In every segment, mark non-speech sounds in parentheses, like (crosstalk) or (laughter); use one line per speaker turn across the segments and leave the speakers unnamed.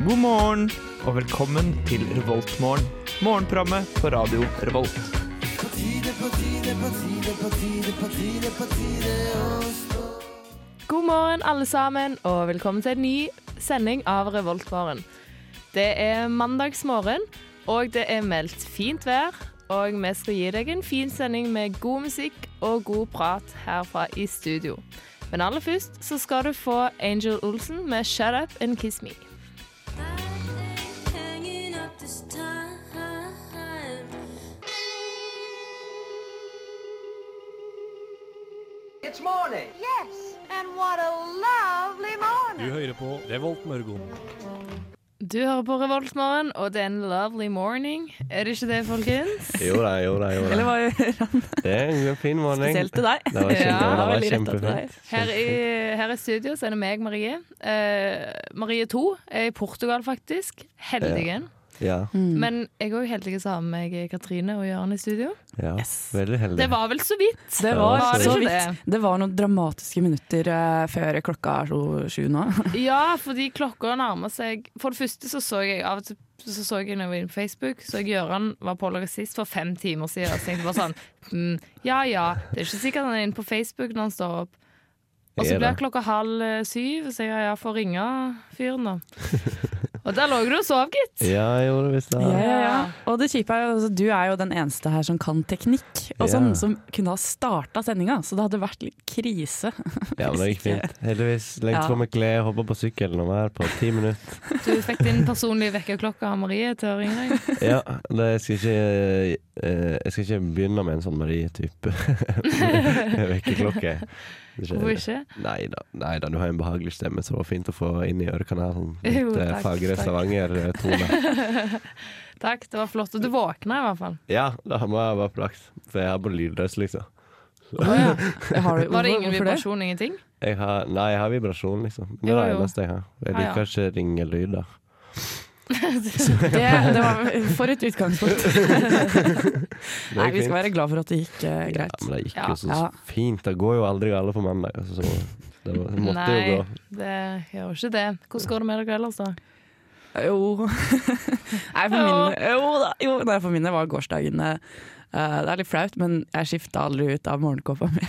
morgen og velkommen til Revoltmorgen. Morgenprogrammet på radio Revolt.
God morgen, alle sammen, og velkommen til en ny sending av Revoltmorgen. Det er mandagsmorgen, og det er meldt fint vær. Og vi skal gi deg en fin sending med god musikk og god prat herfra i studio. Men aller først så skal du få Angel Olsen med 'Shut Up and Kiss Me'.
It's morning.
Yes, and what a lovely morning.
Du hører på Revolt Mørgon.
Du hører på Revoltmorgen, og det er en lovely morning. Er det ikke det, folkens?
Jo da, jo da, jo da.
var
Det er en fin morgen.
spesielt til deg.
Det var kjempe-
Ja,
det var
veldig rettet til
kjempefint.
Her i, her i studio så er det meg, Marie. Eh, Marie 2 er i Portugal, faktisk. Heldigen.
Ja,
Men jeg er òg heldig som har med meg Katrine og Jørn i studio.
ja.
Yes.
Veldig heldig.
Det var vel så vidt.
Det var,
Var det
så
ikke
vidt. Det var noen dramatiske minutter eh, før klokka er så sju nå.
(laughs) Ja, fordi klokka nærmer seg For det første så så jeg av og til så så jeg når jeg var inne på Facebook, så jeg Gøran var på logist for fem timer siden. Og så tenkte jeg bare sånn mm, Ja ja, det er ikke sikkert han er inne på Facebook når han står opp. Og så
Er
blir
det?
klokka halv eh, syv, så jeg ja, ja, får ringe fyren, da. (laughs) Og der lå du og sov, gitt.
Ja, jeg gjorde visst det.
(laughs) Ja, ja, ja. Og det kjipe er jo altså, du er jo den eneste her som kan teknikk, og
Ja.
sånn som kunne ha starta sendinga, så det hadde vært litt
(laughs)
krise.
Ja, men det gikk fint. Heldigvis. Lengt
Ja.
fra meg klær, hoppa på sykkelen og var her på ti minutter.
Du fikk din personlige vekkerklokke av Marie til å ringe deg.
Ja, det, jeg, skal ikke, eh, jeg skal ikke begynne med en sånn Marie-type (laughs) vekkerklokke. (laughs) Det skjer.
Hvorfor ikke?
Nei da, nei da, du har en behagelig stemme, så det var fint å få inn i ørekanalen.
(laughs) Jo,
Litt eh,
takk,
fagre
takk. (laughs)
Stavanger-tone.
Takk, det var flott. Og du våkna i hvert fall.
Ja, det har jeg bare plaks, for jeg har på lydløs, liksom.
Har du,
Var det ingen
hvorfor
vibrasjon, ingenting?
Jeg har, nei, jeg har vibrasjon, liksom. Det
Jo,
er det
jo.
eneste jeg har.
Ja,
Jeg
ja.
liker ikke ringelyder.
Det, det var for et
(laughs)
utgangspunkt.
Det
Nei,
gikk
vi skal
fint.
være glad for at det gikk eh,
Ja,
greit.
men det gikk
Ja.
jo så
Ja.
fint. Det går jo aldri galt på mandag, altså, så det var, måtte
Nei,
jo
det gjør
gå.
ikke det. Hvordan går det med dere ellers, da?
Jo. Nei, for min, jo, da, jo nei, for mine var gårsdagene eh, Det er litt flaut, men jeg skifta aldri ut av morgenkåpa mi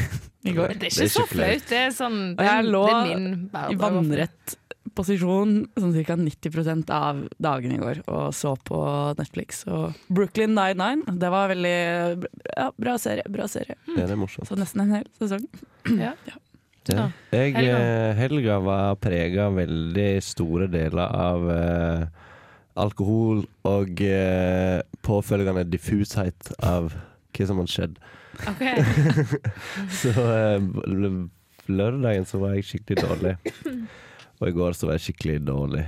(laughs) i går.
Det er
Det er
ikke så
ikke
flaut. Det er sånn
Og
det er,
jeg lå
det er min
I
hverdag.
vannrett posisjon sånn ca. 90 av dagen i går, og så på Netflix. Og Brooklyn 99, det var veldig ja, bra serie. Bra serie.
Det er det morsomt.
Så nesten en hel sesong.
Ja.
Ja.
Ja.
Jeg,
Helga.
eh, helga var prega veldig store deler av eh, alkohol og eh, påfølgende diffushet av hva som
(laughs)
hadde skjedd.
Ok.
Så eh, l- lørdagen så var jeg skikkelig dårlig. Og i går så var jeg skikkelig dårlig.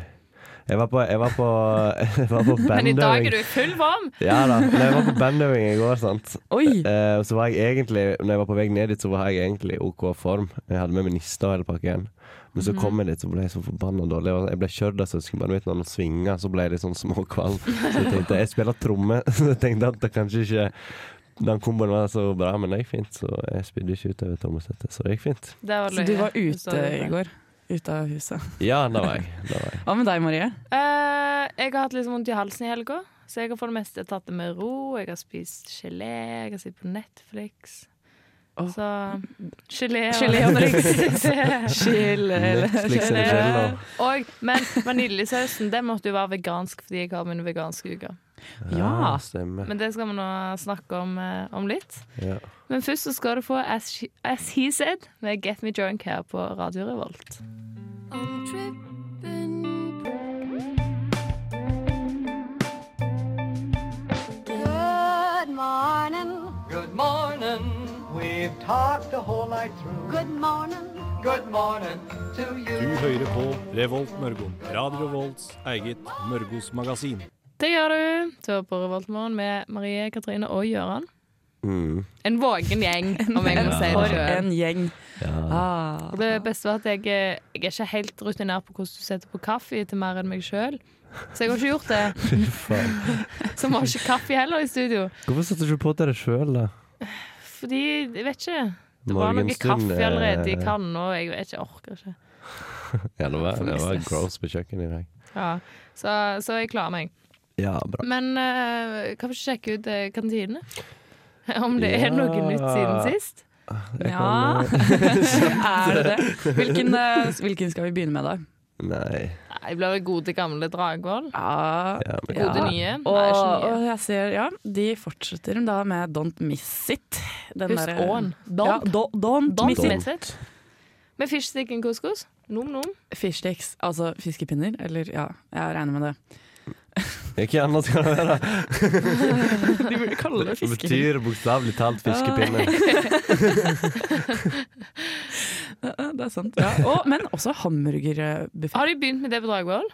Jeg var på, jeg var på, (laughs) jeg var på
Men i dag er
bandøving.
du i full varm.
Ja da, men jeg var på bandøving i går, sant.
Oi!
Eh, og så var jeg egentlig, når jeg var på vei ned dit, så var jeg egentlig i OK form. Jeg hadde med meg niste og hele pakken. Men så kom jeg dit, så ble jeg så forbanna dårlig. Jeg ble kjørt av søskenbarnet mitt når han svinga, så ble jeg litt sånn småkvalm. Så jeg tenkte jeg spiller tromme, (laughs) så jeg tenkte at det kanskje ikke den komboen var så bra, men det gikk fint. Så jeg spydde ikke utover trommesettet, så det gikk fint.
Det var
Så du
løye. sa
var ute
det.
i går. Ute av huset.
Ja, det var jeg. Det var jeg.
Hva med deg, Marie?
Eh, jeg har hatt litt vondt i halsen i helga, så jeg har for det meste tatt det med ro. Jeg har spist gelé, jeg har sett på Netflix.
Åh.
Så gelé og
Gelé
(laughs)
Chill,
og
Netflix
chill.
eller chill og
Og, men vaniljesausen den måtte jo være vegansk fordi jeg har min veganske uke.
Ja.
Stemmer.
Men det skal vi nå snakke om, eh, om litt.
Ja.
Men først så skal du få As, She, As He Said med Get Me Drunk her på Radio Revolt.
Good morning.
Good morning. We've talked the whole night through.
Good morning.
Good morning to
Du
you.
hører på Revolt Mørgon. Radio Revolts eget Mørgos magasin.
Det gjør du. Du hører på Revoltmorgen med Marie, Katrine og Gøran.
Mm.
En våken gjeng, om jeg må si det
For
sjøl.
(laughs) en gjeng.
Ja.
Ah.
Det beste var at jeg, eh, jeg er ikke helt rutinert på hvordan du setter på kaffe til mer enn meg sjøl. Så jeg har ikke gjort det.
Fy faen.
Så vi har ikke kaffe heller i studio.
Hvorfor satte du ikke på til det sjøl, da?
Fordi, jeg vet ikke. Det var noe
Morgenstund,
kaffe allerede i
eh,
kanna, og jeg vet ikke, jeg orker ikke.
Ja, det var,
For
det
mye
var
stress.
gross på kjøkkenet i dag.
Ja. Så, så jeg klarer meg.
Ja, bra.
Men eh, kan vi ikke sjekke ut eh, kantinene? (laughs) Om det er noe
Ja.
nytt siden sist?
Jeg
Ja.
kan, eh,
(laughs) er det det? Hvilken, eh, hvilken skal vi begynne med, da?
Nei.
Nei, det blir vel gode gamle Dragvoll.
Ja,
Ja, men,
Ja.
Gode nye.
Og,
Nei, ikke nye.
og jeg ser, ja, de fortsetter da med Don't Miss It. Den
Husk
derre-
åen.
Ja,
Don't.
do, don't,
Don't
Miss It.
miss it. Med fishstick and couscous. Nom, nom.
Fishsticks, altså fiskepinner. Eller ja, jeg regner med det.
Hva annet skal det være?
De burde kalle (laughs)
Det betyr bokstavelig talt
Ah.
fiskepinne.
Det er sant. Ja. Og, men også hamburgerbuffé.
Har de begynt med det på Dragvoll?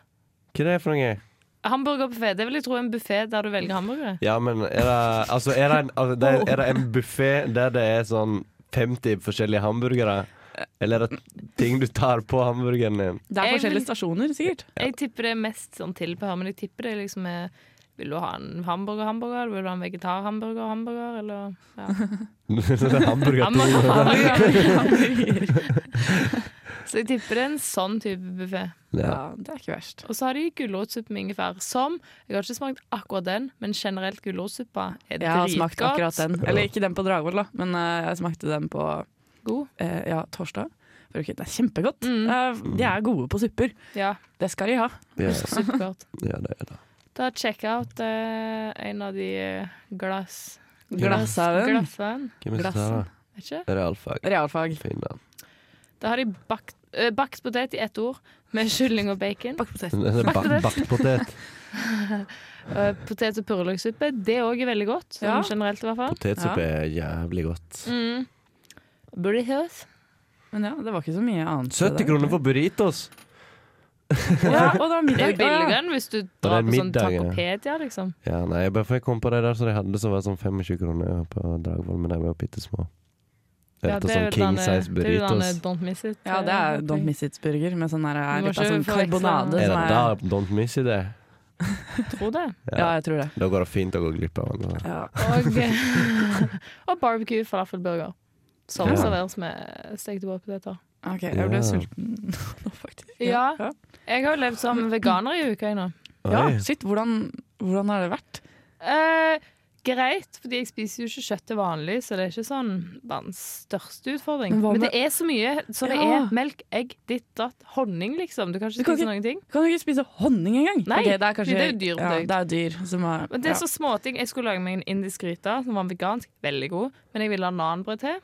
Hva er det for noe?
Hamburgerbuffé. Det vil jeg tro er en buffé der du velger hamburgere.
Ja, men er det, altså, er det en, altså, det er, er det en buffé der det er sånn 50 forskjellige hamburgere? Eller er det ting du tar på hamburgeren din? (laughs)
Det er
Jeg vil-
forskjellige stasjoner, sikkert.
Jeg tipper det er mest sånn tilbehør, men jeg tipper det liksom er Vil du ha en hamburger-hamburger? eller Vil du ha en vegetar-hamburger-hamburger? Eller ja.
Hamburger to.
Hamburger,
(laughs)
hamburger.
Hamburger.
Så jeg tipper det er en sånn type buffé.
Ja.
Ja, det er ikke verst.
Og så har de gulrotsuppe med ingefær, som Jeg har ikke smakt akkurat den, men generelt gulrotsuppa er
Jeg har smakt akkurat
dritgodt.
den. Eller ikke den på Dragvoll, da, men eh, jeg smakte den på
God. Mm.
eh, ja, torsdag. For ikke- Det er kjempegodt. Eh, de er gode på supper.
Ja,
Det skal de ha.
Ja,
supergodt. (laughs)
ja, det er det.
Da check out eh, en av de eh, glass...
Glasshaugen.
Glasshauen.
Hvem er det som tar det?
Vet ikke.
Realfag.
Realfag.
Fin, da.
Da har de bakt, eh, bakt potet i ett ord, med (laughs) kylling og bacon.
Det er en bak- Bakt potet.
Eh, potet- og purreløksuppe. Det òg er veldig godt, sånn
Ja.
generelt i hvert fall.
Potetsuppe er jævlig godt.
Mm. Burritos.
Men ja, det var ikke så mye annet.
70 kroner for burritos!
Ja, og det var
Det er
middag.
jo billigere enn hvis du
det
drar
er
på sånn
middag, ja.
tacopedia, liksom.
Ja, nei, jeg bare for jeg kom på det der som de hadde som var sånn 25 kroner på Dragvoll, men de var jo bitte små.
Ja,
Etter
det er
sånn
jo
King
den, eh,
size
det er jo den, eh,
burritos.
Don't miss it.
Ja, det er
eh,
Don't Miss It-burger med sånn der,
Vi må
litt av
ikke
sånn
forveksle.
karbonade.
Er
Som
det
er,
da Don't Miss It er?
Tror det.
ja, jeg tror det.
Da går det fint å gå glipp av den.
Ja. (laughs)
Og, (laughs) og barbecue falafelburger. Som
Ja.
serveres med stekte våtpoteter.
OK, jeg
Ja.
ble sulten (laughs) nå, faktisk.
Ja. Jeg har jo levd som veganer i uka nå.
ja. Shit, hvordan, hvordan har det vært?
Eh, greit, fordi jeg spiser jo ikke kjøtt til vanlig, så det er ikke sånn verdens største utfordring.
Men hva
Men
med-
det er så mye som det
Ja.
er. Melk, egg, ditt, datt, honning, liksom. Du kan ikke
Du kan
spise
ikke-
noen ting.
Kan du ikke spise honning engang?
Nei,
Ok, det er
det
kanskje
er jo dyr
ja,
produkt.
det er dyr som er,
Men det er
ja.
så småting. Jeg skulle lage meg en indisk gryte som var vegansk, veldig god, men jeg ville ha nanbrød til.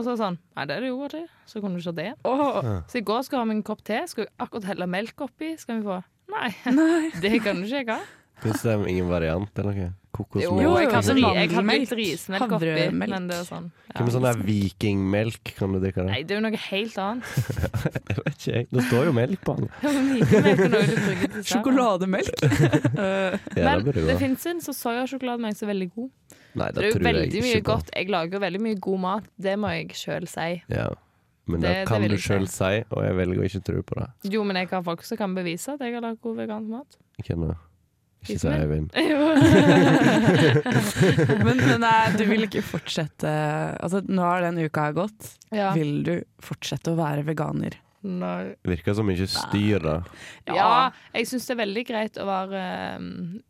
Og så sånn Nei, det er det jo godt til. Så kunne du ikke ha det.
Åh,
Så i går skulle jeg ha meg en kopp te. Skulle jeg akkurat helle melk oppi? Skal vi få Nei,
nei.
(laughs) det kan du ikke jeg ha.
Fins det ingen variant eller noe? Kokosmelk?
Jo,
jeg
jo,
hadde,
sånn
jeg hadde
vaniljemelk,
litt rismelk oppi,
havremelk.
men det er sånn.
Hva med sånn der vikingmelk? Kan du drikke
Nei,
det?
det er jo noe helt annet. (laughs)
Jeg vet ikke, jeg. Det står jo melk på den.
Mykemelk er noe du bruker til sammen.
Sjokolademelk. (laughs)
Ja,
Men
det burde
det
gå.
finnes en så sojasjokolademelk som er veldig god.
Nei,
Det
det
er jo
tror jeg
veldig mye
ikke på.
godt. Jeg lager jo veldig mye god mat, det må jeg sjøl si.
Ja.
Det-
Men det,
det
kan
vil
du
jeg
sjøl si, og jeg velger å ikke tro på det.
Jo, men jeg har folk som kan bevise at jeg har lagd god vegansk mat. (laughs)
Ikke nå. Ikke si
Vismel?
Eivind.
men men nei, du vil ikke fortsette Altså, nå har den uka gått.
ja.
Vil du fortsette å være veganer?
Nei.
Virker som ikke styr, da.
Ja, jeg syns det er veldig greit å være eh,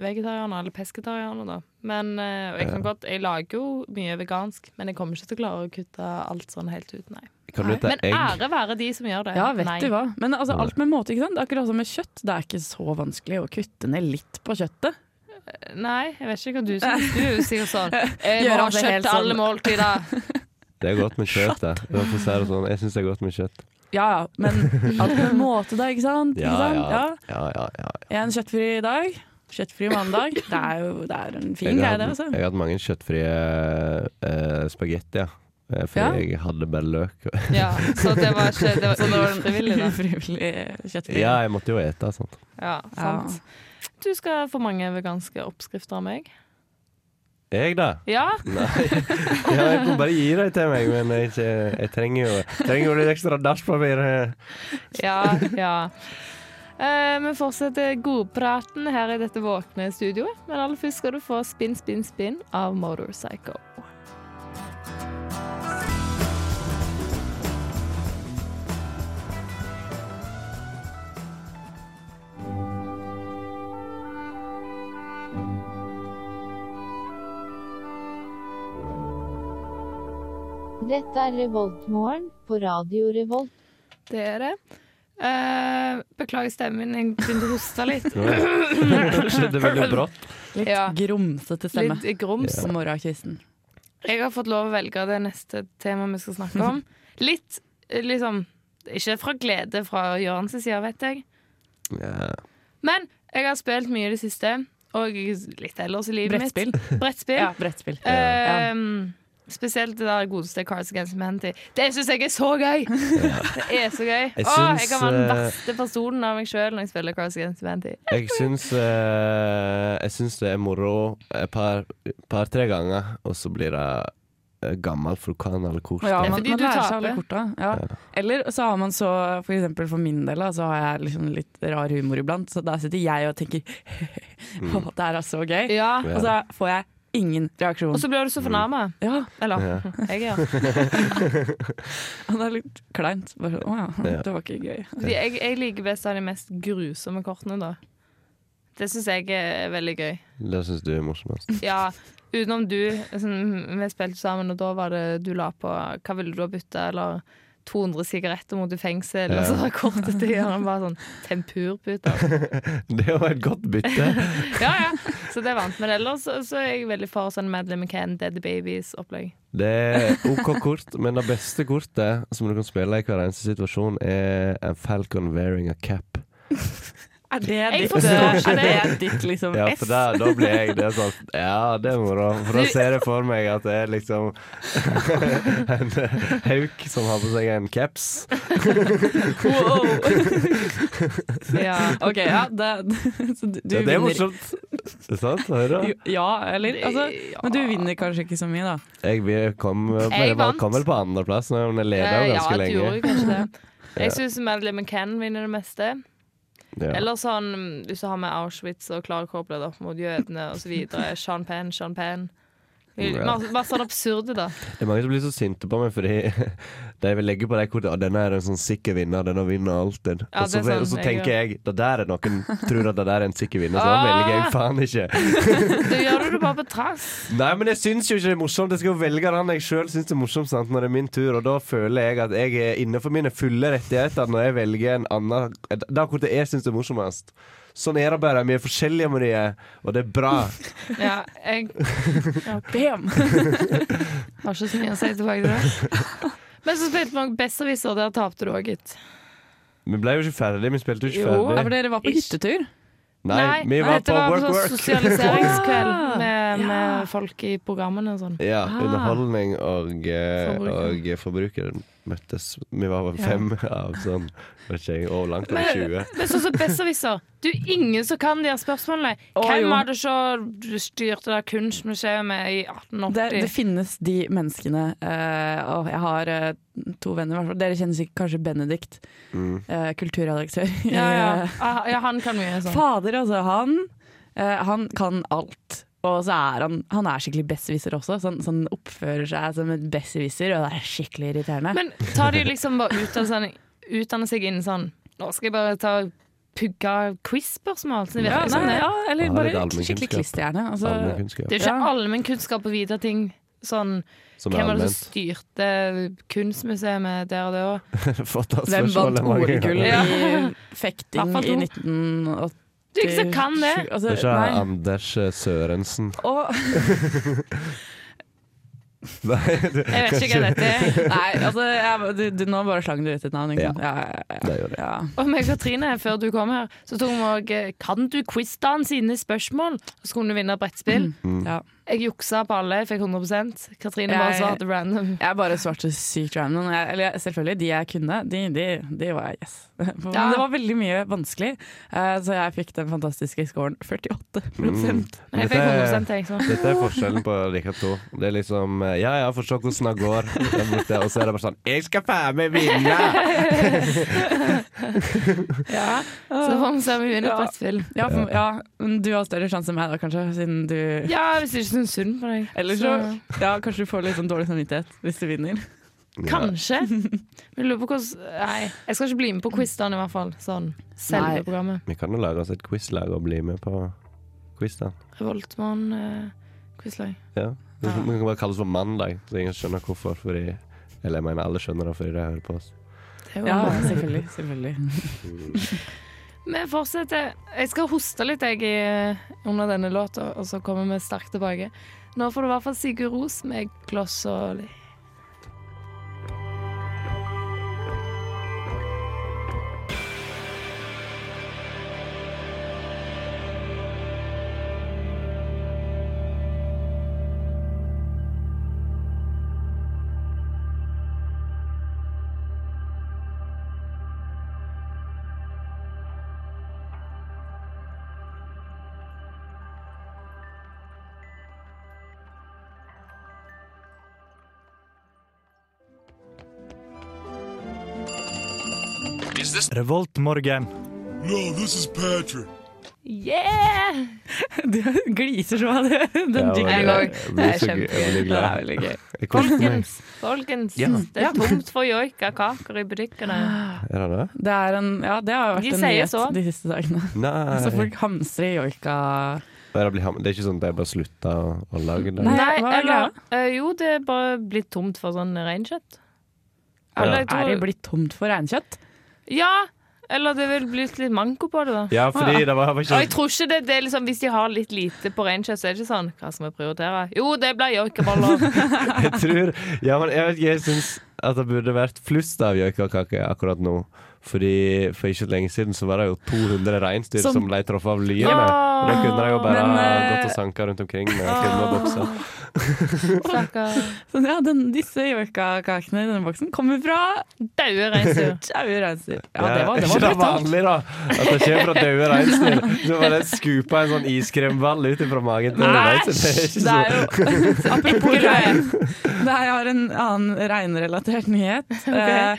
vegetarianer eller pesketarianer, da. Men eh, og jeg kan godt Jeg lager jo mye vegansk, men jeg kommer ikke til å klare å kutte alt sånn helt ut, nei.
Kan du
Nei,
ta
Men
egg?
ære være de som gjør det.
Ja, vet
Eh, nei.
du hva. Men altså,
Nei.
alt med måte, ikke sant. Det er akkurat som med kjøtt. Det er ikke så vanskelig å kutte ned litt på kjøttet.
Nei, jeg vet ikke hva du
(laughs)
syns. Du er jo sikkert sånn Jeg
Gjør
må ha
alt det
kjøtt
helt
til alle
sånn.
måltider.
Det er godt med kjøtt, da. Hvorfor sier du sånn? Jeg syns det er godt med kjøtt.
Ja ja,
(laughs)
men alt med måte, da, ikke sant?
Ja,
ikke sant?
ja. ja, ja, ja.
En kjøttfri dag. Kjøttfri mandag. Det er jo det er en fin
Jeg
greie,
har hatt-
det, altså.
Jeg har hatt mange kjøttfrie uh, spagetti, ja. Eh, Fordi
Ja.
jeg hadde bare løk.
Ja, så det var ikke Det
(laughs) Så det
var
var en
ufrivillig, da.
ufrivillig kjøttfri.
(laughs) ja, jeg måtte jo ete sånt.
Ja, sant. Du skal få mange veganske oppskrifter av meg.
Jeg, da?
Ja,
Nei. Ja, jeg kan bare gi deg til meg, men jeg, jeg trenger, jo, trenger jo litt ekstra dasspapir. her.
ja, ja. Eh, vi fortsetter godpraten her i dette våkne studioet. Men aller først skal du få Spinn, spinn, spinn av Motorpsycho.
Dette er Revoltmorgen på Radio Revolt.
Det er det. Eh, beklager stemmen min, jeg begynte å hoste litt.
Det skjedde
(laughs)
veldig brått.
Litt
Ja.
grumsete stemme.
Litt grums.
På morgenkvisten.
Jeg har fått lov å velge det neste temaet vi skal snakke om. Litt eh, liksom Ikke fra glede fra Jørgens side, vet jeg.
Ja.
Men jeg har spilt mye i det siste, og litt ellers i livet
Brettspill.
mitt. Brettspill.
Ja, brettspill.
Eh, Spesielt det der godeste Cards Against Humanity. Det syns jeg er så
(laughs)
gøy! Det er så gøy.
Jeg
Åh, jeg
syns,
kan være den
eh,
verste personen av meg sjøl når jeg spiller Cards Against Humanity.
Jeg syns, eh, jeg syns det er moro eh, et par-tre ganger, og så blir det eh, gammel for du kan alle kort.
Ja,
Det er
man,
fordi
man
du
lærer seg
taper.
alle korta. Ja. Eller så har man så, for eksempel for min del, da, så har jeg liksom litt rar humor iblant. Så der sitter jeg og tenker (laughs)
Mm.
Å, det her er så gøy.
Ja.
Og så får jeg ingen reaksjon.
Og så blir du så fornærma.
ja,
Eller
Mm. Ja.
(laughs) jeg, ja.
og det er litt kleint. Bare, sånn, å ja,
Ja.
det var ikke gøy.
Fordi jeg, jeg liker best av de mest grusomme kortene, da. Det syns jeg er veldig gøy.
Det syns du er morsomst.
Ja, utenom du. Sånn, vi spilte sammen, og da var det du la på Hva ville du ha bytta, eller 200 sigaretter mot i fengsel, og så var kortet til Jørgen bare sånn tempurputer.
(laughs) Det var et godt bytte.
(laughs) Ja, ja. Så det vant. Men ellers så, så er jeg veldig for sånn Madeleine McCann, Dead Babies-opplegg.
Det er OK kort, men det beste kortet som du kan spille i hver eneste situasjon, er en falcon wearing a cap.
Er det
Jeg
ditt,
forstår
er
ikke
det
det.
ditt liksom
Ja,
S?
for da, da blir jeg det sånn (laughs) Ja, det er moro. For da ser jeg for meg at det er (laughs) liksom en eh, hauk som har på seg en caps.
(laughs) Wow.
Ja.
OK, ja. Det, så du, du
Ja, det er
vinner.
morsomt. Det er sant? Hører du?
Jo, Ja, eller altså, Men du vinner kanskje ikke så mye, da.
Jeg vil- kom, jeg
vant.
kom vel på andreplass, men jeg leda jo
Eh,
ganske
ja, du gjorde jo
lenge.
kanskje det. Jeg syns Madeleine McCann vinner det meste.
Ja.
Eller sånn, hvis du har med Auschwitz og klarer å koble det opp mot jødene osv. Sean Penn, Sean Penn.
Ja.
Masse, masse sånn absurde, da.
Det er mange som blir så sinte på meg fordi (laughs) de vil legge på de kortene «Å, denne er en sånn sikker vinner, denne vinner alltid.
Ja,
og, så,
det er
og så
sånn, jeg
tenker jeg det der er noen tror at det der er en sikker vinner,
(laughs)
så da velger jeg faen ikke.
Da gjør du det bare på trass.
(laughs) Nei, men jeg syns jo ikke det er morsomt. Jeg skal jo velge den jeg sjøl syns det er morsomt, sant, når det er min tur, og da føler jeg at jeg er innenfor mine fulle rettigheter når jeg velger en annen Det kortet jeg syns er morsomst. Sånn er det bare. Vi er forskjellige, Marie, og det er bra.
Ja, jeg
Bam!
har ikke så mye å si tilbake til det. (laughs) Men så spilte vi også Besserwisser, og der tapte du òg, gitt.
Vi ble jo ikke ferdig, vi spilte jo ikke
Jo,
Ja, for
ferdig.
dere var på hyttetur.
Nei, vi var
dette
på
var
work,
sånn
work.
sosialiseringskveld
Ah,
med,
ja.
med folk i programmene og sånn.
(laughs) Ja, underholdning og, eh,
Forbruker.
og forbruker møttes. Vi var vel fem av sånn vet ikke jeg, og langt over 20.
Men sånn som Besserwisser, du er ingen som kan de her spørsmålene.
Å, jo.
Hvem var det som styrte det kunstmuseet med i
Det, det
1880?
finnes de menneskene eh, og Jeg har eh, to venner, i hvert fall. Dere kjenner sikkert kanskje Benedikt,
Mm.
eh, kulturredaktør. (laughs)
Ja, ja.
Eh,
Ah, ja, han kan mye sånn.
Fader, altså. Han, eh, han kan alt. Og så er han, han er skikkelig besserwisser også. Så han, så han oppfører seg som en besserwisser, og det er skikkelig irriterende.
Men tar de liksom bare utdanne seg, utdanne seg inn sånn Nå skal jeg bare ta pugga quiz-spørsmål. Så det
ja,
virker sånn.
nei,
Han
ja, eller
har litt
bare skikkelig
allmennkunnskap.
klisterhjerne. Altså,
Allmennkunnskap.
Det er jo ikke
Ja.
allmennkunnskap å vite ting. Sånn,
Som er
hvem var det som
allment.
styrte kunstmuseet der og da?
(laughs) Fått av
hvem vant
spørsmålet mange
OL-gull
ganger.
Ja.
i fekting
Hvertfall
i
to.
1987?
Du er ikke som kan det!
Altså,
Det er ikke
nei.
Anders eh, Sørensen. (laughs)
Og
Nei, det,
Jeg vet ikke hva dette er.
Nei, altså jeg, du, du, Nå bare slang du ut et navn. Ikke?
Ja.
sant? Ja, ja, ja,
det gjør det.
ja.
Og meg og Katrine, før du kom her, så tok vi òg Kan du quiz-dagen sine spørsmål? Og så kunne du vinne brettspill.
Mm.
Ja.
Jeg juksa på alle, jeg fikk 100 Katrine bare
Jeg-
svarte random.
Jeg bare svarte sykt random. Jeg, eller jeg- selvfølgelig, de jeg kunne, de, de, de var jeg yes. (laughs) Men
Ja.
det var veldig mye vanskelig, eh, så jeg fikk den fantastiske scoren 48
Mm.
Men jeg
Dette
fikk
er-
100 jeg, så.
Dette er forskjellen på dere to. Det er liksom eh, Ja, ja, få se hvordan
(laughs)
det går. Den brukte jeg, Og så er det bare sånn Jeg skal faen meg vinne!
Ja. Så får vi se om vi vinner
Ja.
et brettspill.
Mm.
Ja, for, ja, men du har større sjanse enn meg da, kanskje, siden du
Ja, hvis du ikke syns synd på deg.
Eller så
Så-
ja, kanskje du får litt sånn dårlig samvittighet hvis du vinner.
Kanskje. (laughs) Men jeg lurer på hvordan Nei, jeg skal ikke bli med på quiz-dagen i hvert fall. Sånn
Nei.
selve programmet.
Vi kan jo lage oss et quizlag og bli med på quiz, da.
Revoltmann eh, quizlag.
Ja. Vi kan bare kalle det for mandag, så ingen skjønner hvorfor. Fordi Eller jeg mener, alle skjønner det fordi de hører på oss.
Det er jo
(laughs) Ja,
mange.
selvfølgelig. selvfølgelig.
Vi fortsetter. Jeg skal hoste litt jeg, i- eh, under denne låta, og så kommer vi sterkt tilbake. Nå får du i hvert fall Sigurd Ros med Gloss og li-
Revoltmorgen.
Yeah!
Du gliser så av det. (laughs) Den
Det
jinglen.
er
òg.
veldig-
Det er
jeg blir så- Jeg blir
Det er
glad.
veldig gøy.
Jeg koser
(laughs)
meg.
Folkens, folkens
Ja.
det er tomt for joikakaker i
Ah.
butikkene.
Er det det?
Det, er en, ja, det har jo vært
De
en
sier
nyhet
så.
de siste dagene. Så
Nei.
Altså, folk hamstrer joika.
Det er, det blir ham- det er ikke sånn at jeg bare slutta å, å lage det?
Nei. hva er
eller eh, Jo, det er bare blitt tomt for sånn reinkjøtt. Eller, jeg
Er det
tror,
blitt tomt for reinkjøtt?
ja, eller det vil bli litt manko på det, da.
Ja,
Ah.
fordi det var, var
Og
ikke
jeg tror ikke det, det er liksom, Hvis de har litt lite på reinkjøtt, så er det ikke sånn Hva skal vi prioritere? Jo, det blir joikaboller.
(laughs) Jeg tror Ja, men jeg vet ikke, jeg syns at det burde vært flust av joikakaker akkurat nå. Fordi For ikke så lenge siden så var det jo 200 reinsdyr som,
Som-
ble truffet av lyene. Og Da kunne de jo bare
Men,
ha
eh,
gått og sanka rundt omkring med filmabokser.
Stakkar
Så ja, den, disse joikakakene i denne boksen kommer fra
daue reinsdyr.
Tjaue reinsdyr. Ja, det var,
er
det
ikke
var
det
brutalt.
vanlig, da? At det kommer fra døde reinsdyr. Så bare skupa en sånn iskremball ut ifra magen til en reinsdyr. Det er ikke
Det
så
er jo
(laughs)
Apropos rein. Det er, jeg har en annen reinrelatert
(laughs)
nyhet. Eh,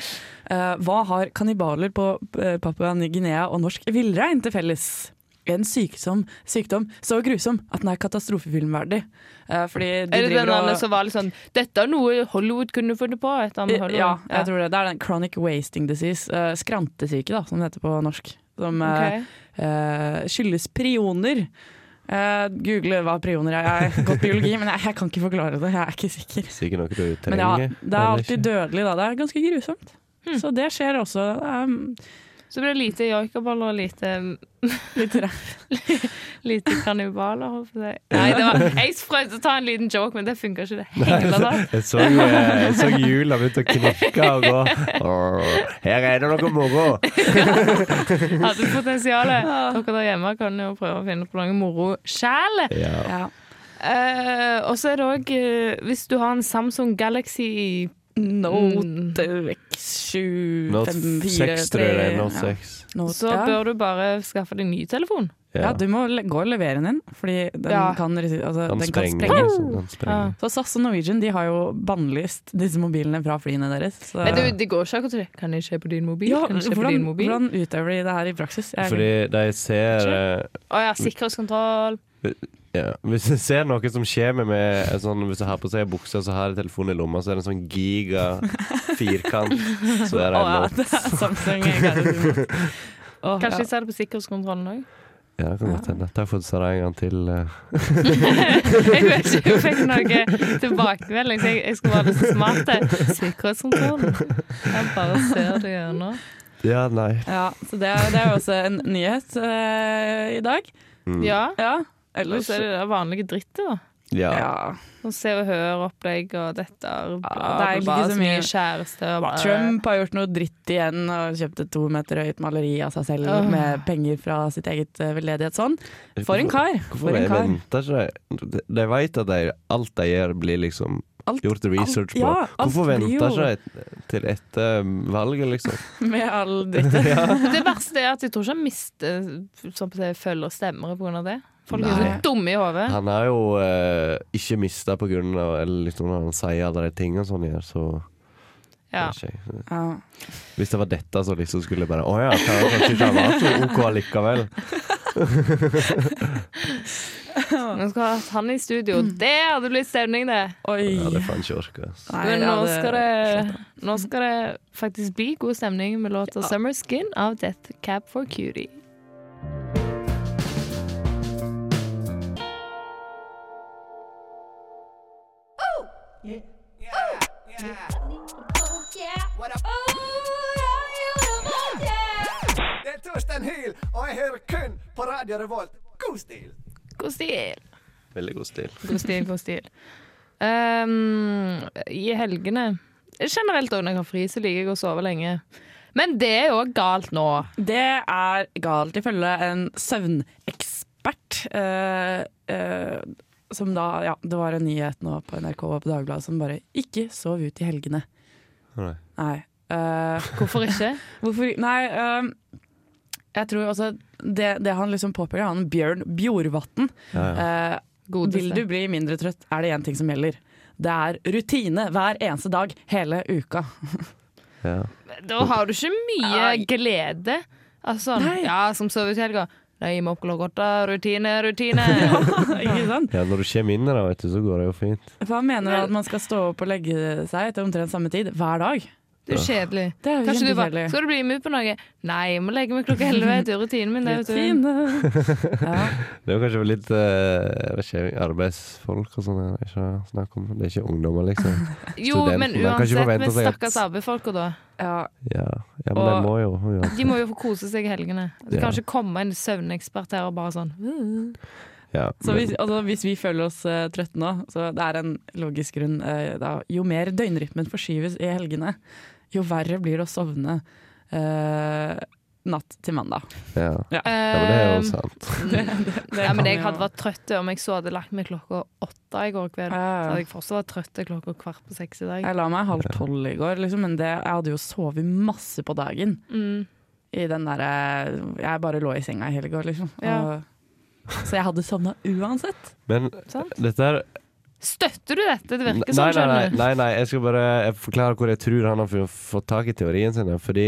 eh, hva har kannibaler på eh, Papua Ny-Guinea og norsk villrein til felles? En sykdom, sykdom så grusom at den er katastrofefilmverdig. Eh, fordi de
Er det den
driver og-
andre som var litt sånn Dette er noe Hollywood kunne funnet på? Etter med Hollywood.
Eh, Ja, jeg tror det. Det er den chronic wasting disease, eh, skrantesyke, da, som det heter på norsk. Som eh,
Ok.
eh, skyldes prioner. Eh, Google hva prioner er. Jeg har gått biologi, men jeg, jeg kan ikke forklare det. Jeg er ikke sikker.
Sikkert noe du
Men ja,
trenger.
det er alltid dødelig, da. Det er ganske grusomt.
Hmm.
Så det skjer også. Um,
Så blir det lite joikaboller og lite,
(laughs) litt rart.
(laughs) lite kannibaler. håper jeg. Nei, det var, jeg prøvde å ta en liten joke, men det funka ikke. det hele tatt.
Jeg så, eh, jeg så hjula begynte å knirke og gå. Åh, Her er det noe moro!
Hadde potensial. Dere der hjemme kan jo prøve å finne på noe moro sjæl.
Ja.
Ja.
Eh, og så er det òg Hvis du har en Samsung Galaxy Mm,
Note
Hmm.
X7
Nå seks, tror jeg det er. Nå seks.
Så bør du bare skaffe deg ny telefon.
Ja, du må le- gå og levere den inn, fordi den,
Ja.
kan, resi- altså,
Han
den kan
sprenger.
sprenge.
liksom. Han sprenger.
Så SAS og Norwegian de har jo bannlyst disse mobilene fra flyene deres. Så.
Men du, det går ikke akkurat til det. Kan jeg se på din mobil?
ja,
kan jeg se på
hvordan,
din mobil?
hvordan utøver de det her i praksis? Jeg,
Fordi de ser eh,
Å ja, sikkerhetskontroll.
ja. Hvis du ser noe som skjer med, med en sånn, Hvis du har på seg en bukse og så har jeg telefonen i lomma, så er det en sånn giga
(laughs)
firkant. Så er det
Å ja,
en låt.
det er Samsung. jeg kan ikke- Å,
Kanskje
ja.
jeg ser det på sikkerhetskontrollen òg.
Ja, det kan godt hende. Takk for at du sa det en gang til. eh.
(laughs) Jeg vet ikke, jeg fikk noe tilbakemelding, så jeg, jeg skulle være litt smart. der. (laughs) Sikkerhetskontrollen. Jeg bare ser det gjennom.
Ja, nei.
ja, så det er, det er jo også en nyhet eh, i dag.
Ja.
Ja,
Og
ellers
så er det det vanlige drittet, da.
Ja.
ja.
Sånn Se og Hør-opplegg og dette er bla,
Ja, det
bla, bla,
er ikke så
så mye
mye.
kjæreste og bla, bla, bla.
Trump har gjort noe dritt igjen og kjøpt et to meter høyt maleri av seg selv
Åh.
med penger fra sitt eget eh, veldedighetssånd. For en kar! For
Hvorfor
en
jeg
kar.
venter ikke de? De vet at de, alt de gjør, blir liksom
Alt-
gjort research på.
ja, alt
Hvorfor
blir
venter
jo-
ikke de til etter valget, liksom?
Med all dritt.
(laughs) Det verste er at jeg tror ikke han mister sånn på det, følger stemmere pga. det. Folk er så
Nei.
dumme i hodet.
Han har jo eh, ikke mista på grunn av Eller liksom når han sier alle de tingene som han gjør, så
Ja.
vet ikke jeg.
Ja.
Hvis det var dette, så liksom skulle jeg bare Å ja, kan jeg kanskje ikke ha vært så OK likevel?
Nå skal ha hatt han i studio.
Mm.
Det hadde blitt stemning, det.
Oi.
Jeg hadde faen ikke orka. ass.
Nei,
Men
jeg
nå
hadde-
skal det, nå skal det faktisk bli god stemning med låta 'Summer Skin' av Death Cab for Cutie.
Det er Torstein Hyl, og jeg hører kun på Radio Revolt. God stil!
God stil.
Veldig god stil.
God stil, god stil. Ehm, I helgene Generelt òg når jeg har fri, så liker jeg å sove lenge. Men det er jo galt nå.
Det er galt, ifølge en søvnekspert. eh, eh, som da, ja, Det var en nyhet nå på NRK og på Dagbladet som bare ikke sov ut i helgene.
Nei.
Nei. Eh,
Hvorfor
(laughs)
ikke?
hvorfor Nei, eh, jeg tror altså Det, det han liksom påpeker, han Bjørn Bjorvatn
Ja, ja.
eh, Vil du bli mindre trøtt, er det én ting som gjelder. Det er rutine hver eneste dag hele uka. (laughs)
Ja.
Da har du ikke mye
Nei.
glede. Altså,
Nei.
ja, som sover ut i helga. Nei, jeg må opp klokka åtte. Rutine,
(laughs)
rutine.
ikke sant?
ja, når du kommer inn her, da, vet du, så går det jo fint.
For han mener at man skal stå opp og legge seg til omtrent samme tid hver dag.
Det er jo kjedelig.
Det er jo
Kanskje du bare
kjempekjedelig.
Skal du bli med på noe? Nei, jeg må legge meg klokka elleve. Det er rutinen min. Det, vet du.
Rutine. Ja.
Det er jo kanskje litt eh, jeg vet ikke, arbeidsfolk og sånn. Det er ikke snakk om Det er ikke ungdommer, liksom.
Jo,
Studenten,
men
da. Kan ikke
uansett,
forvente
men
seg at-
stakkars arbeidsfolka, da.
Ja.
Ja, ja men
Og-
de må jo. Ja.
De må jo få kose seg i helgene. Det
Ja.
kan ikke komme en søvnekspert her og bare sånn
Ja,
Så
men-
hvis, altså, hvis vi føler oss eh, trøtte nå, så det er en logisk grunn eh, da, Jo mer døgnrytmen forskyves i helgene, jo verre blir det å sovne eh, natt til
(laughs)
mandag.
ja. ja, men det er jo
«Øhm,
sant.
Ehm, Ja, men jeg hadde vært trøtt om jeg så hadde lagt meg klokka åtte i går kveld. Så
Ja,
hadde
ja.
jeg fortsatt vært trøtt til klokka kvart på seks i dag.
Jeg la meg halv tolv i går, liksom, men det, jeg hadde jo sovet masse på dagen.
Mm.
I den derre Jeg bare lå i senga i helga, liksom.
Ja.
Og, så jeg hadde sovna uansett.
Men
Sant?
dette her
Støtter du dette? Det
Nei,
virker
nei,
sånn, skjønner
nei,
du.
nei, nei, jeg skal bare jeg forklare hvor jeg tror han har fu- fått tak i teorien sin. ja, Fordi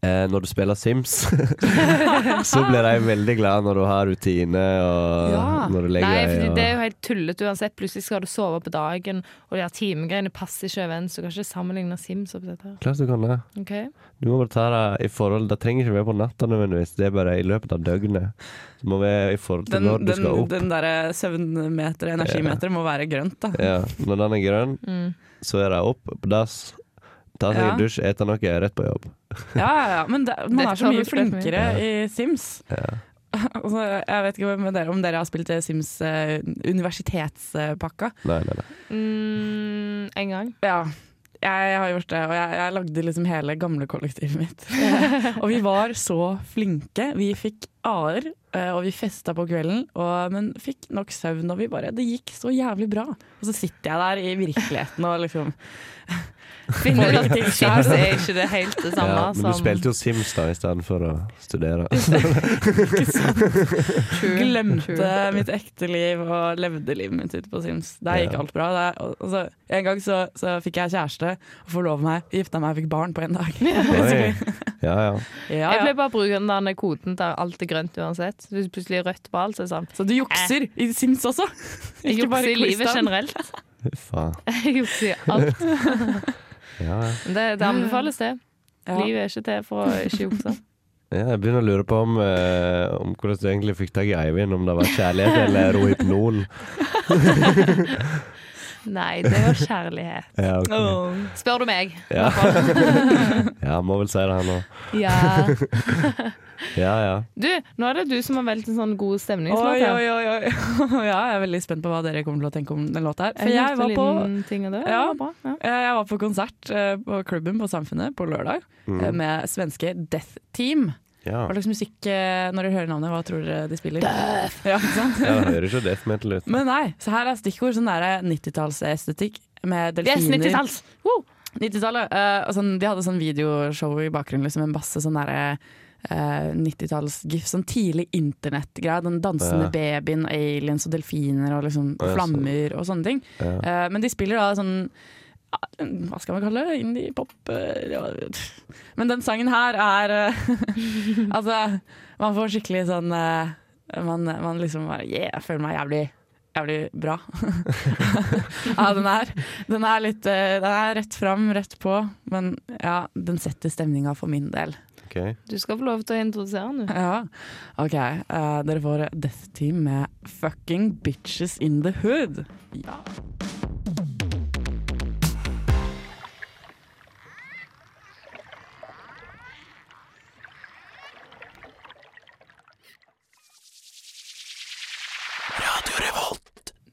eh, når du spiller Sims, (laughs) så blir de veldig glad når du har rutine og
Ja.
når du
Nei,
legger
fordi
deg.
det er jo helt tullete uansett. Plutselig skal du sove på dagen, og de her timegreiene passer ikke overens. Du kan ikke sammenligne Sims opp dette. her.
Og... Klart du kan det.
Ok?
Du må bare ta det i forhold Det trenger ikke være på natta nødvendigvis, det er bare i løpet av døgnet. Det må være i forhold til
Den,
når du
den,
skal opp.
den derre søvnmeteret, energimeteret, må være grønt, da.
Ja, når den er grønn,
Mm.
så er det opp på dass. Ta seg
Ja.
en dusj, ete noe, rett på jobb.
Ja, ja, ja. Men det, man
Dette
er så
kan
mye
du spille
flinkere i Sims. (laughs) Altså, jeg vet ikke om dere, om dere har spilt eh, Sims eh, universitetspakka.
Nei, nei, nei.
Mm, en (laughs) gang.
Ja, jeg har gjort det, og jeg, jeg lagde liksom hele gamle kollektivet mitt. (laughs) og vi var så flinke. Vi fikk A-er, eh, og vi festa på kvelden, og, men fikk nok søvn. Og vi bare Det gikk så jævlig bra. Og så sitter jeg der i virkeligheten og liksom Finner ut at ting skjer.
(laughs) Sims er ikke det helt det samme
Ja, men du
som
spilte jo Sims da istedenfor å studere.
True.
Glemte
Mm. True.
mitt ekte liv og levde livet mitt ute på Sims. Der gikk
Ja.
alt bra. Der, og, og så, en gang så, så fikk jeg kjæreste, og forlova meg, gifta meg, fikk barn på én dag.
Oi. Ja, ja.
Ja,
Jeg
ja.
ble bare bruker den der koden der alt er grønt uansett. Så Hvis det plutselig er rødt på alt, så er det sånn.
Så du jukser i Sims også? (laughs)
Jeg
Ikke bare
jukser i livet
quizene.
generelt.
Fy faen.
(laughs)
Jeg jukser i alt.
Ja, ja.
Det, det anbefales, det.
Ja.
Livet er ikke til for å ikke jukse.
Ja, jeg begynner å lure på om, eh, om hvordan du egentlig fikk tak i Eivind. Om det var kjærlighet eller rohypnol.
Nei, det var kjærlighet.
Ja, ok.
Spør du meg.
ja.
(laughs)
ja, må vel si det, han òg.
Ja.
Ja, ja.
Du, nå er det du som har valgt en sånn god
Oi,
stemningsmåte.
oi, oi, oi. (laughs) Ja, jeg er veldig spent på hva dere kommer til å tenke om den låta her. For
Jeg,
jeg var på,
ting av det.
Ja.
det var bra. Ja.
eh, jeg var på konsert eh, på klubben på Samfunnet på lørdag
Mm.
eh, med svenske Death Team.
Mm. ja.
Hva slags musikk eh, når dere hører navnet, hva tror dere de spiller? Death! Ja, ikke sant?
Jeg hører ikke death metal ut.
Men nei, så her er stikkord sånn derre 90-tallsestetikk med
Yes,
delfiner.
90-talls! Woo!
90-tallet. eh, og sånn, de hadde sånn videoshow i bakgrunnen, liksom en masse sånn derre eh, 90-talls-gif. Sånn tidlig internettgreie. Den dansende
Ja.
babyen og aliens og delfiner og liksom
Ja,
flammer og sånne ting.
Ja.
Eh, men de spiller da sånn ja, hva skal man kalle det? Indie-pop? eh, ja. Men den sangen her er eh, (laughs) Altså, man får skikkelig sånn eh, man, man liksom bare Yeah, jeg føler meg jævlig, jævlig bra. (laughs) ja, den er, den er litt eh, Den er rett fram, rett på, men ja, den setter stemninga for min del. (laughs)
Ok.
Du skal få lov til å introdusere den, du.
Ja, OK. eh, dere får Death Team med 'Fucking Bitches In The Hood'. Ja.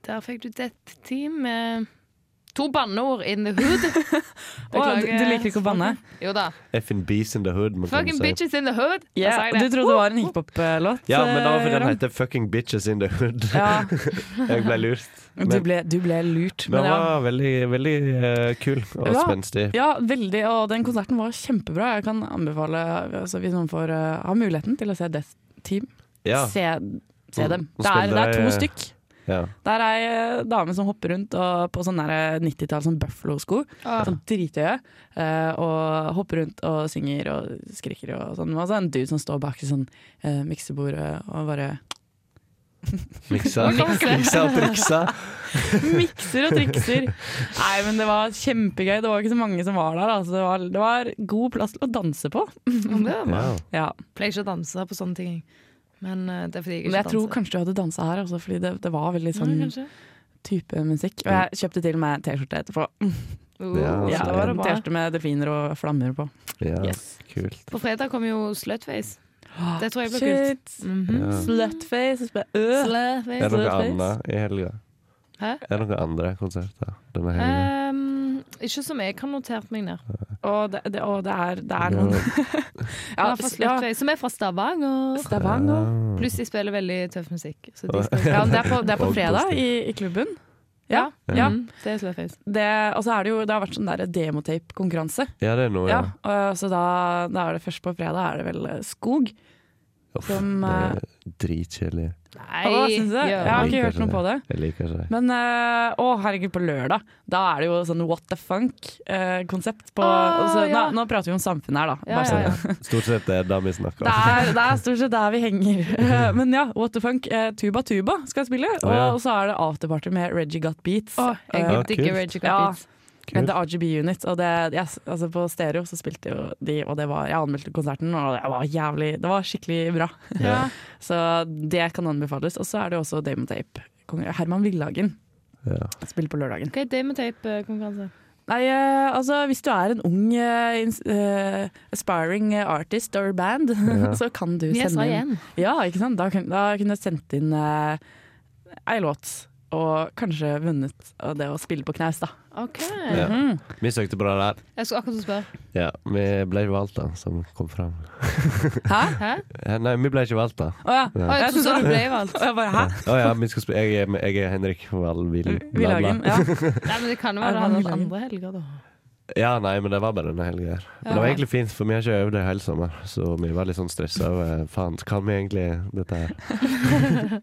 Der fikk du Death Team med to banneord in the
(laughs)
hood. Beklager.
Å, du, du liker ikke å banne?
Jo da.
Effing bees in the hood. må
Fucking
man kunne si.
bitches in the hood. Da
Ja,
sa jeg
du trodde det Oh, var en hiphop-låt?
Ja, men da var
eh,
fordi den
Jørgen?
heter Fucking Bitches in the Hood.
ja,
(laughs) Jeg ble lurt.
du,
Men
ble, du ble lurt.
den
Men ja.
var veldig, veldig eh, kul og
Ja.
spenstig.
ja, veldig. Og den konserten var kjempebra. Jeg kan anbefale, altså, hvis noen får eh, ha muligheten til å se Death Team,
Ja.
se, se
Mm.
dem.
Og
Det er, det
spiller
er
jeg-
to stykk.
ja.
Det er ei eh, dame som hopper rundt og på sånn 90-tall sånn Buffalo-sko. Sånn drithøye. eh, og hopper rundt og synger og skriker og sånn. Og så er det en dude som står bak i sånn uh, miksebordet og bare
Miksa.
Hva kan man si?
(laughs) Miksa og
(laughs)
triksa.
mikser og trikser. Nei, men det var kjempegøy. Det var ikke så mange som var der. Altså. Det, var, det var god plass til å danse på.
Jeg
Ja.
Ja.
pleier ikke å danse på sånne ting. Men eh, det er fordi jeg
Men
ikke
jeg tror
danser.
kanskje du hadde dansa her, altså, fordi det, det var veldig
Ja,
sånn
kanskje.
type musikk. Og jeg kjøpte til og med T-skjorte etterpå.
Oh,
Ja, altså,
Ja,
da
så
var det
en
bra.
T-skjorte med delfiner og flammer på.
ja.
Yes.
Kult.
På fredag kom jo Slutface. Det tror jeg ble kult.
Ah, Shit!
Mhm.
Ja.
Slutface. så sp- Øh.
Er det
Slutface.
noe
Slutface.
annet i helga?
Hæ?
Er det noen andre konserter denne
Eh,
helga?
Ehm, ikke som jeg har notert meg ned.
Og det, det, og det er, det er noen
Ja,
ja,
fra
s- ja,
Slutface, som er fra Stavanger.
Stavanger.
Pluss de spiller veldig tøff musikk. Så de skal...
Ja, det er på, det er på
Og
fredag
positivt.
i, i klubben. Ja, ja.
Mm, det er Slutface.
Det, og så er det jo Det har vært sånn der demotape-konkurranse.
Ja, det er noe, ja.
Ja, og så da, da er det først på fredag er det vel eh, Skog.
Uff,
Som,
det
eh,
er dritkjedelig.
Nei,
Hva syns du? Jeg
gjør
har
Jeg
ikke hørt
liker
noe på det.
Jeg liker ikke det.
Men eh, å herregud, på lørdag Da er det jo sånn what the funk-konsept. på
Å,
og så,
ja.
nå, nå prater vi om samfunnet her, da.
Ja,
Bare sånn.
ja, ja.
Stort sett det er det vi snakker
Det
om.
er, det er stort sett der vi henger. (laughs) Eh, Men ja, What the Funk, eh, Tuba Tuba skal spille.
Å, ja.
Og så er det afterparty med Reggie Got Beats.
Å, jeg
Eh,
Ja,
digger
kult.
Rage Against
Ja.
Beats.
Men det er RGB Unit. Og det, jeg, s- altså på stereo så spilte jo de, og det var, jeg anmeldte konserten, og det var jævlig Det var skikkelig bra.
Ja.
Så det kan anbefales. Og så er det jo også Damon Tape. Kong- Herman Villhagen
Ja.
spiller på lørdagen.
Hva er det med tape-konkurranse?
Nei, eh, altså hvis du er en ung eh, ins- eh, aspiring artist or band, (laughs) så kan du
Jeg sa
sende inn
igjen.
Ja, ikke sant? Da, kun, da kunne jeg sendt inn eh, ei låt, og kanskje vunnet av det å spille på knaus, da.
OK.
Ja. Vi søkte på det der.
Jeg skulle akkurat spørre.
Ja, vi ble jo valgt, da, som kom fram.
Hæ?
Eh, Nei, vi ble ikke valgt, da.
Å ja.
Å, jeg
Jeg synes
trodde du
det-
ble valgt.
Og jeg bare hæ?
Å ja, vi skal spille jeg, er- jeg er Henrik Wall
(laughs)
Vil...
Villhagen.
Blabla.
Ja.
Nei, men Det kan jo være det
Er det
hadde
mange
vært andre helger, da.
Ja, nei, men det var bare denne helga her. Men det var egentlig fint, for vi har ikke øvd det hele sommer, så vi var litt sånn stressa over Faen, kan vi egentlig dette her?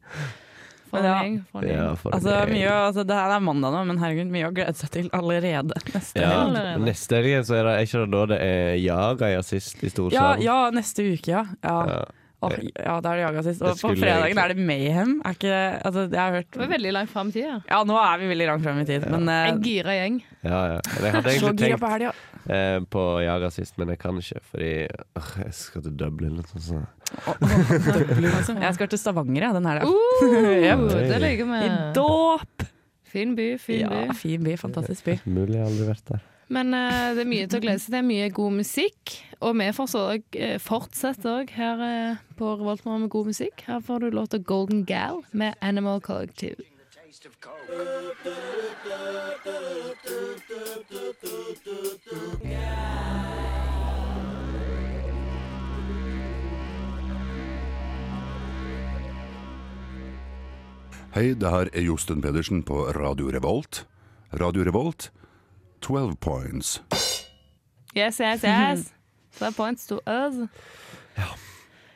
For
Men ja.
en gjeng, for en gjeng.
Ja, for
Altså,
en gjeng.
mye, å- altså, det her er mandag nå, men herregud, mye å glede seg til allerede neste
Ja,
helg.
Allerede.
Neste helg så er det er ikke det da det er Jaga i assist i
Ja,
Storsalen.
ja, neste uke, ja. Ja,
Ja.
Åh, ja da er det jaga sist.
Eh, Jeg
Og på
skulle
fredagen
egentlig-
er det Mayhem. Er ikke Altså, jeg har hørt
Det var veldig langt fram i tida.
Ja, nå er vi veldig langt fram i tid, men eh,
En gira gjeng.
Ja, ja. Men Jeg hadde
(laughs) så
egentlig
gira
tenkt
på helga.
eh, på Jaga sist, men jeg kan ikke, fordi øh, jeg skal til Dublin. Litt sånn. sånn.
Jeg skal til Stavanger, jeg, den helga. (laughs)
Uh,
Yep.
det liker vi.
I dåp!
Fin by, fin by.
Ja, fin by, fantastisk by.
Mulig jeg har aldri vært der.
Men eh, det er mye til å glede seg til. Mye god musikk. Og vi forså- eh, fortsetter òg her eh, på Revoltmorgen med god musikk. Her får du låta 'Golden Gal' med Animal Collective.
Hei, det her er Josten Pedersen på Radio Revolt. Radio Revolt, 12 points.
Yes, yes,
(laughs)
yes. Så er points to us.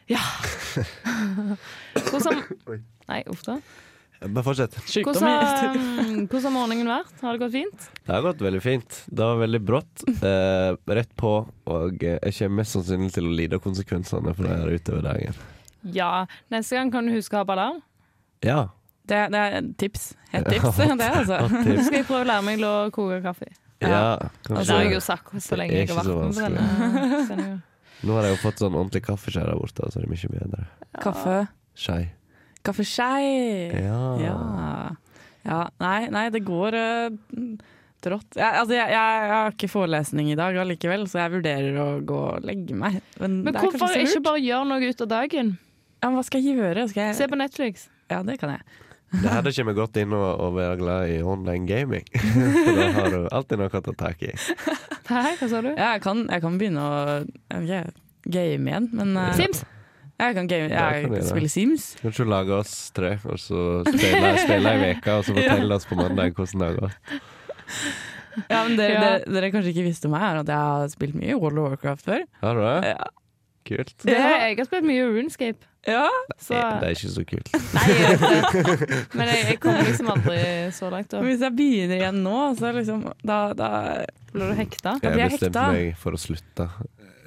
Ja. Hvordan Nei, uff da.
Bare fortsett.
Hvordan har (laughs) hvordan har morgenen vært? Har det gått fint?
Det har gått veldig fint. Det var veldig brått. Eh, rett på. Og eh, jeg kommer mest sannsynlig til å lide av konsekvensene for det her utover dagen.
Ja. Neste gang kan du huske å ha på alarm.
Ja.
Det, det er et tips. Et
(laughs)
tips, det, altså.
Hot
Så (laughs)
tips.
skal jeg prøve å lære meg å koke kaffe.
Ja,
Og det har jeg
kanskje.
jo sagt så lenge
Det er
jeg har
ikke så
vært med på denne sendingen.
Nå har jeg jo fått sånn ordentlig kaffeskjær der borte, så det er mye bedre.
Kaffe.
Skei.
Kaffeskei.
Ja.
Ja. ja. Nei, nei, det går eh, trått. Jeg, altså, jeg, jeg, jeg har ikke forelesning i dag allikevel, så jeg vurderer å gå og legge meg. Men,
Men
det er
hvorfor
kanskje så
ikke
lurt.
bare gjøre noe ut av dagen?
Ja, men hva skal jeg gjøre? Skal
Se
jeg...
på Netflix.
Ja, det kan jeg.
Det her det kommer godt inn å, å være glad i online (laughs) gaming. For da har du alltid noe å ta tak i.
Hæ, hva sa du?
Ja, jeg, kan, jeg kan begynne å jeg vet ikke, game igjen, men eh,
Sims!
Jeg kan game,
Ja, kan du
jeg
gjøre.
spille Sims.
Kan ikke du lage oss tre, og så spille, spille ei uke, og så fortelle oss på mandag hvordan det har gått?
Ja, men dere,
Ja.
dere, dere kanskje ikke visste om meg, er at jeg har spilt mye World of Warcraft før.
Har du det?
Ja.
Kult. Eh,
Det, jeg har spilt mye Runescape.
Ja,
Så,
Det er ikke så kult.
nei, jeg vet det. (laughs) Men jeg, jeg kom liksom aldri så langt. Da
og Hvis jeg begynner igjen nå, så liksom da, da
ble du hekta.
Da blir
Jeg
jeg
bestemte
hekta.
meg for å slutte.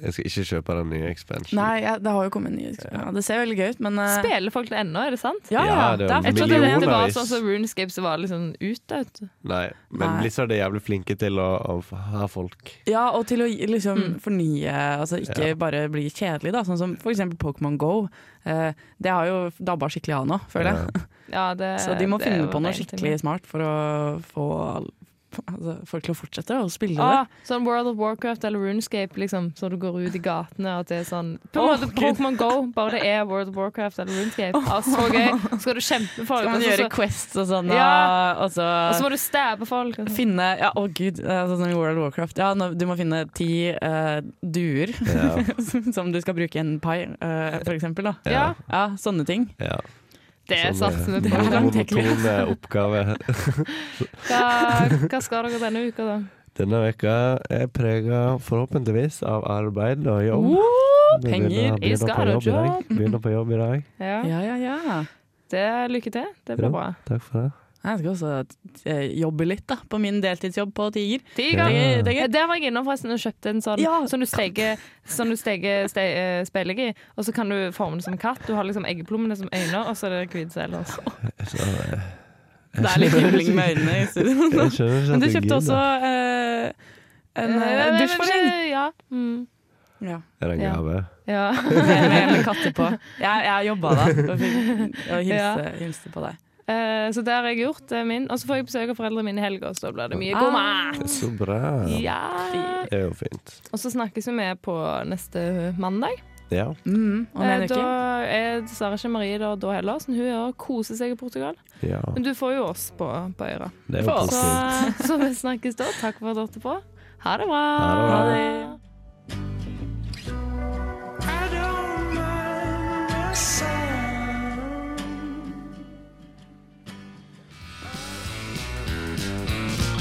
Jeg skal ikke kjøpe den nye expansion.
Nei, jeg, det har jo kommet nye ja, Det ser veldig gøy ut, men eh,
Spiller folk det ennå, er det sant?
Ja, ja,
Ja, det
det
er
er
Jeg trodde det,
Millioner.
fortsatt
det var
Millionervis.
sånn som Runescape som var liksom utdødd.
Nei. Men
Nei.
Blizzard er jævlig flinke til å, å ha folk.
Ja, og til å liksom
Mm.
fornye, altså ikke bare bli kjedelig, da. Sånn som for eksempel Pokémon Go. Eh, det har jo dabba skikkelig av nå, føler jeg.
Ja, det-
Så de må
Eh, det
finne
var
på noe
en ting.
skikkelig smart for å få all- altså, folk til å fortsette å spille
Ah,
det.
sånn World of Warcraft eller Runescape, liksom, så du går ut i gatene og at det er sånn På en
Åh,
måte
Gud.
Pokémon Go, bare det er World of Warcraft eller Runescape. Ah, så gøy! Skal du kjempe folk,
Skal
og
man
så,
gjøre
så,
quests og sånn,
altså, Ja.
og, og så
og så må du stabbe folk. og så-
finne Ja, å gud, eh, sånn som i World of Warcraft. Ja, nå, du må finne ti eh, duer (laughs)
Ja.
som, som du skal bruke i en pai, eh, for eksempel. Da.
Ja,
Ja, sånne ting.
Ja. (laughs) Sånn, eh,
det satser vi
det er
på.
langt,
monotone (laughs) oppgave.
Hva, hva skal dere denne uka, da?
Denne veka er prega forhåpentligvis av arbeid og jobb.
Woo!
Det begynner-
penger
begynner
is
på
got a
jobb i
(laughs)
dag.
job.
Begynner på jobb i dag.
Ja,
Ja, ja, ja.
det er lykke til. Det blir
Ja.
bra.
Takk for det.
Jeg skal også eh, jobbe litt da, på min deltidsjobb på Tiger.
Tiger!
Det er
Ja,
gøy.
Der var jeg innom forresten og kjøpte en sånn
Ja.
som du steker, som du steker ste, eh, speilegg i, og så kan du forme det som en katt. Du har liksom eggeplommene som øyne, og så er det hvit sel. altså.
Det er litt himling med øynene i studio.
Jeg skjønner ikke
Men
at (laughs) det
du
er gøy,
kjøpte også
da.
eh, en eh,
Eh,
dusjforheng.
Ja. Mm.
Ja.
Er det en
Ja.
gave?
ja. (laughs)
Med, med, med katter på. Jeg, jeg jobba da og fikk og hilste,
Ja.
hilste på deg.
Eh, så det har jeg gjort, det er min. Og så får jeg besøk av foreldrene mine i helga, så da blir det mye
Ah.
god mat.
Det er så bra.
Ja.
Det er jo fint.
Og så snakkes vi med på neste mandag.
Ja.
Mm, om
Eh,
en uke.
da er dessverre ikke Marie der da heller, så hun er og koser seg i Portugal.
ja.
Men du får jo oss på, på øra.
Det er jo
For oss.
Så, (laughs)
positivt.
så vi snakkes da. Takk for at du hørte på. Ha det bra.
Ha det bra.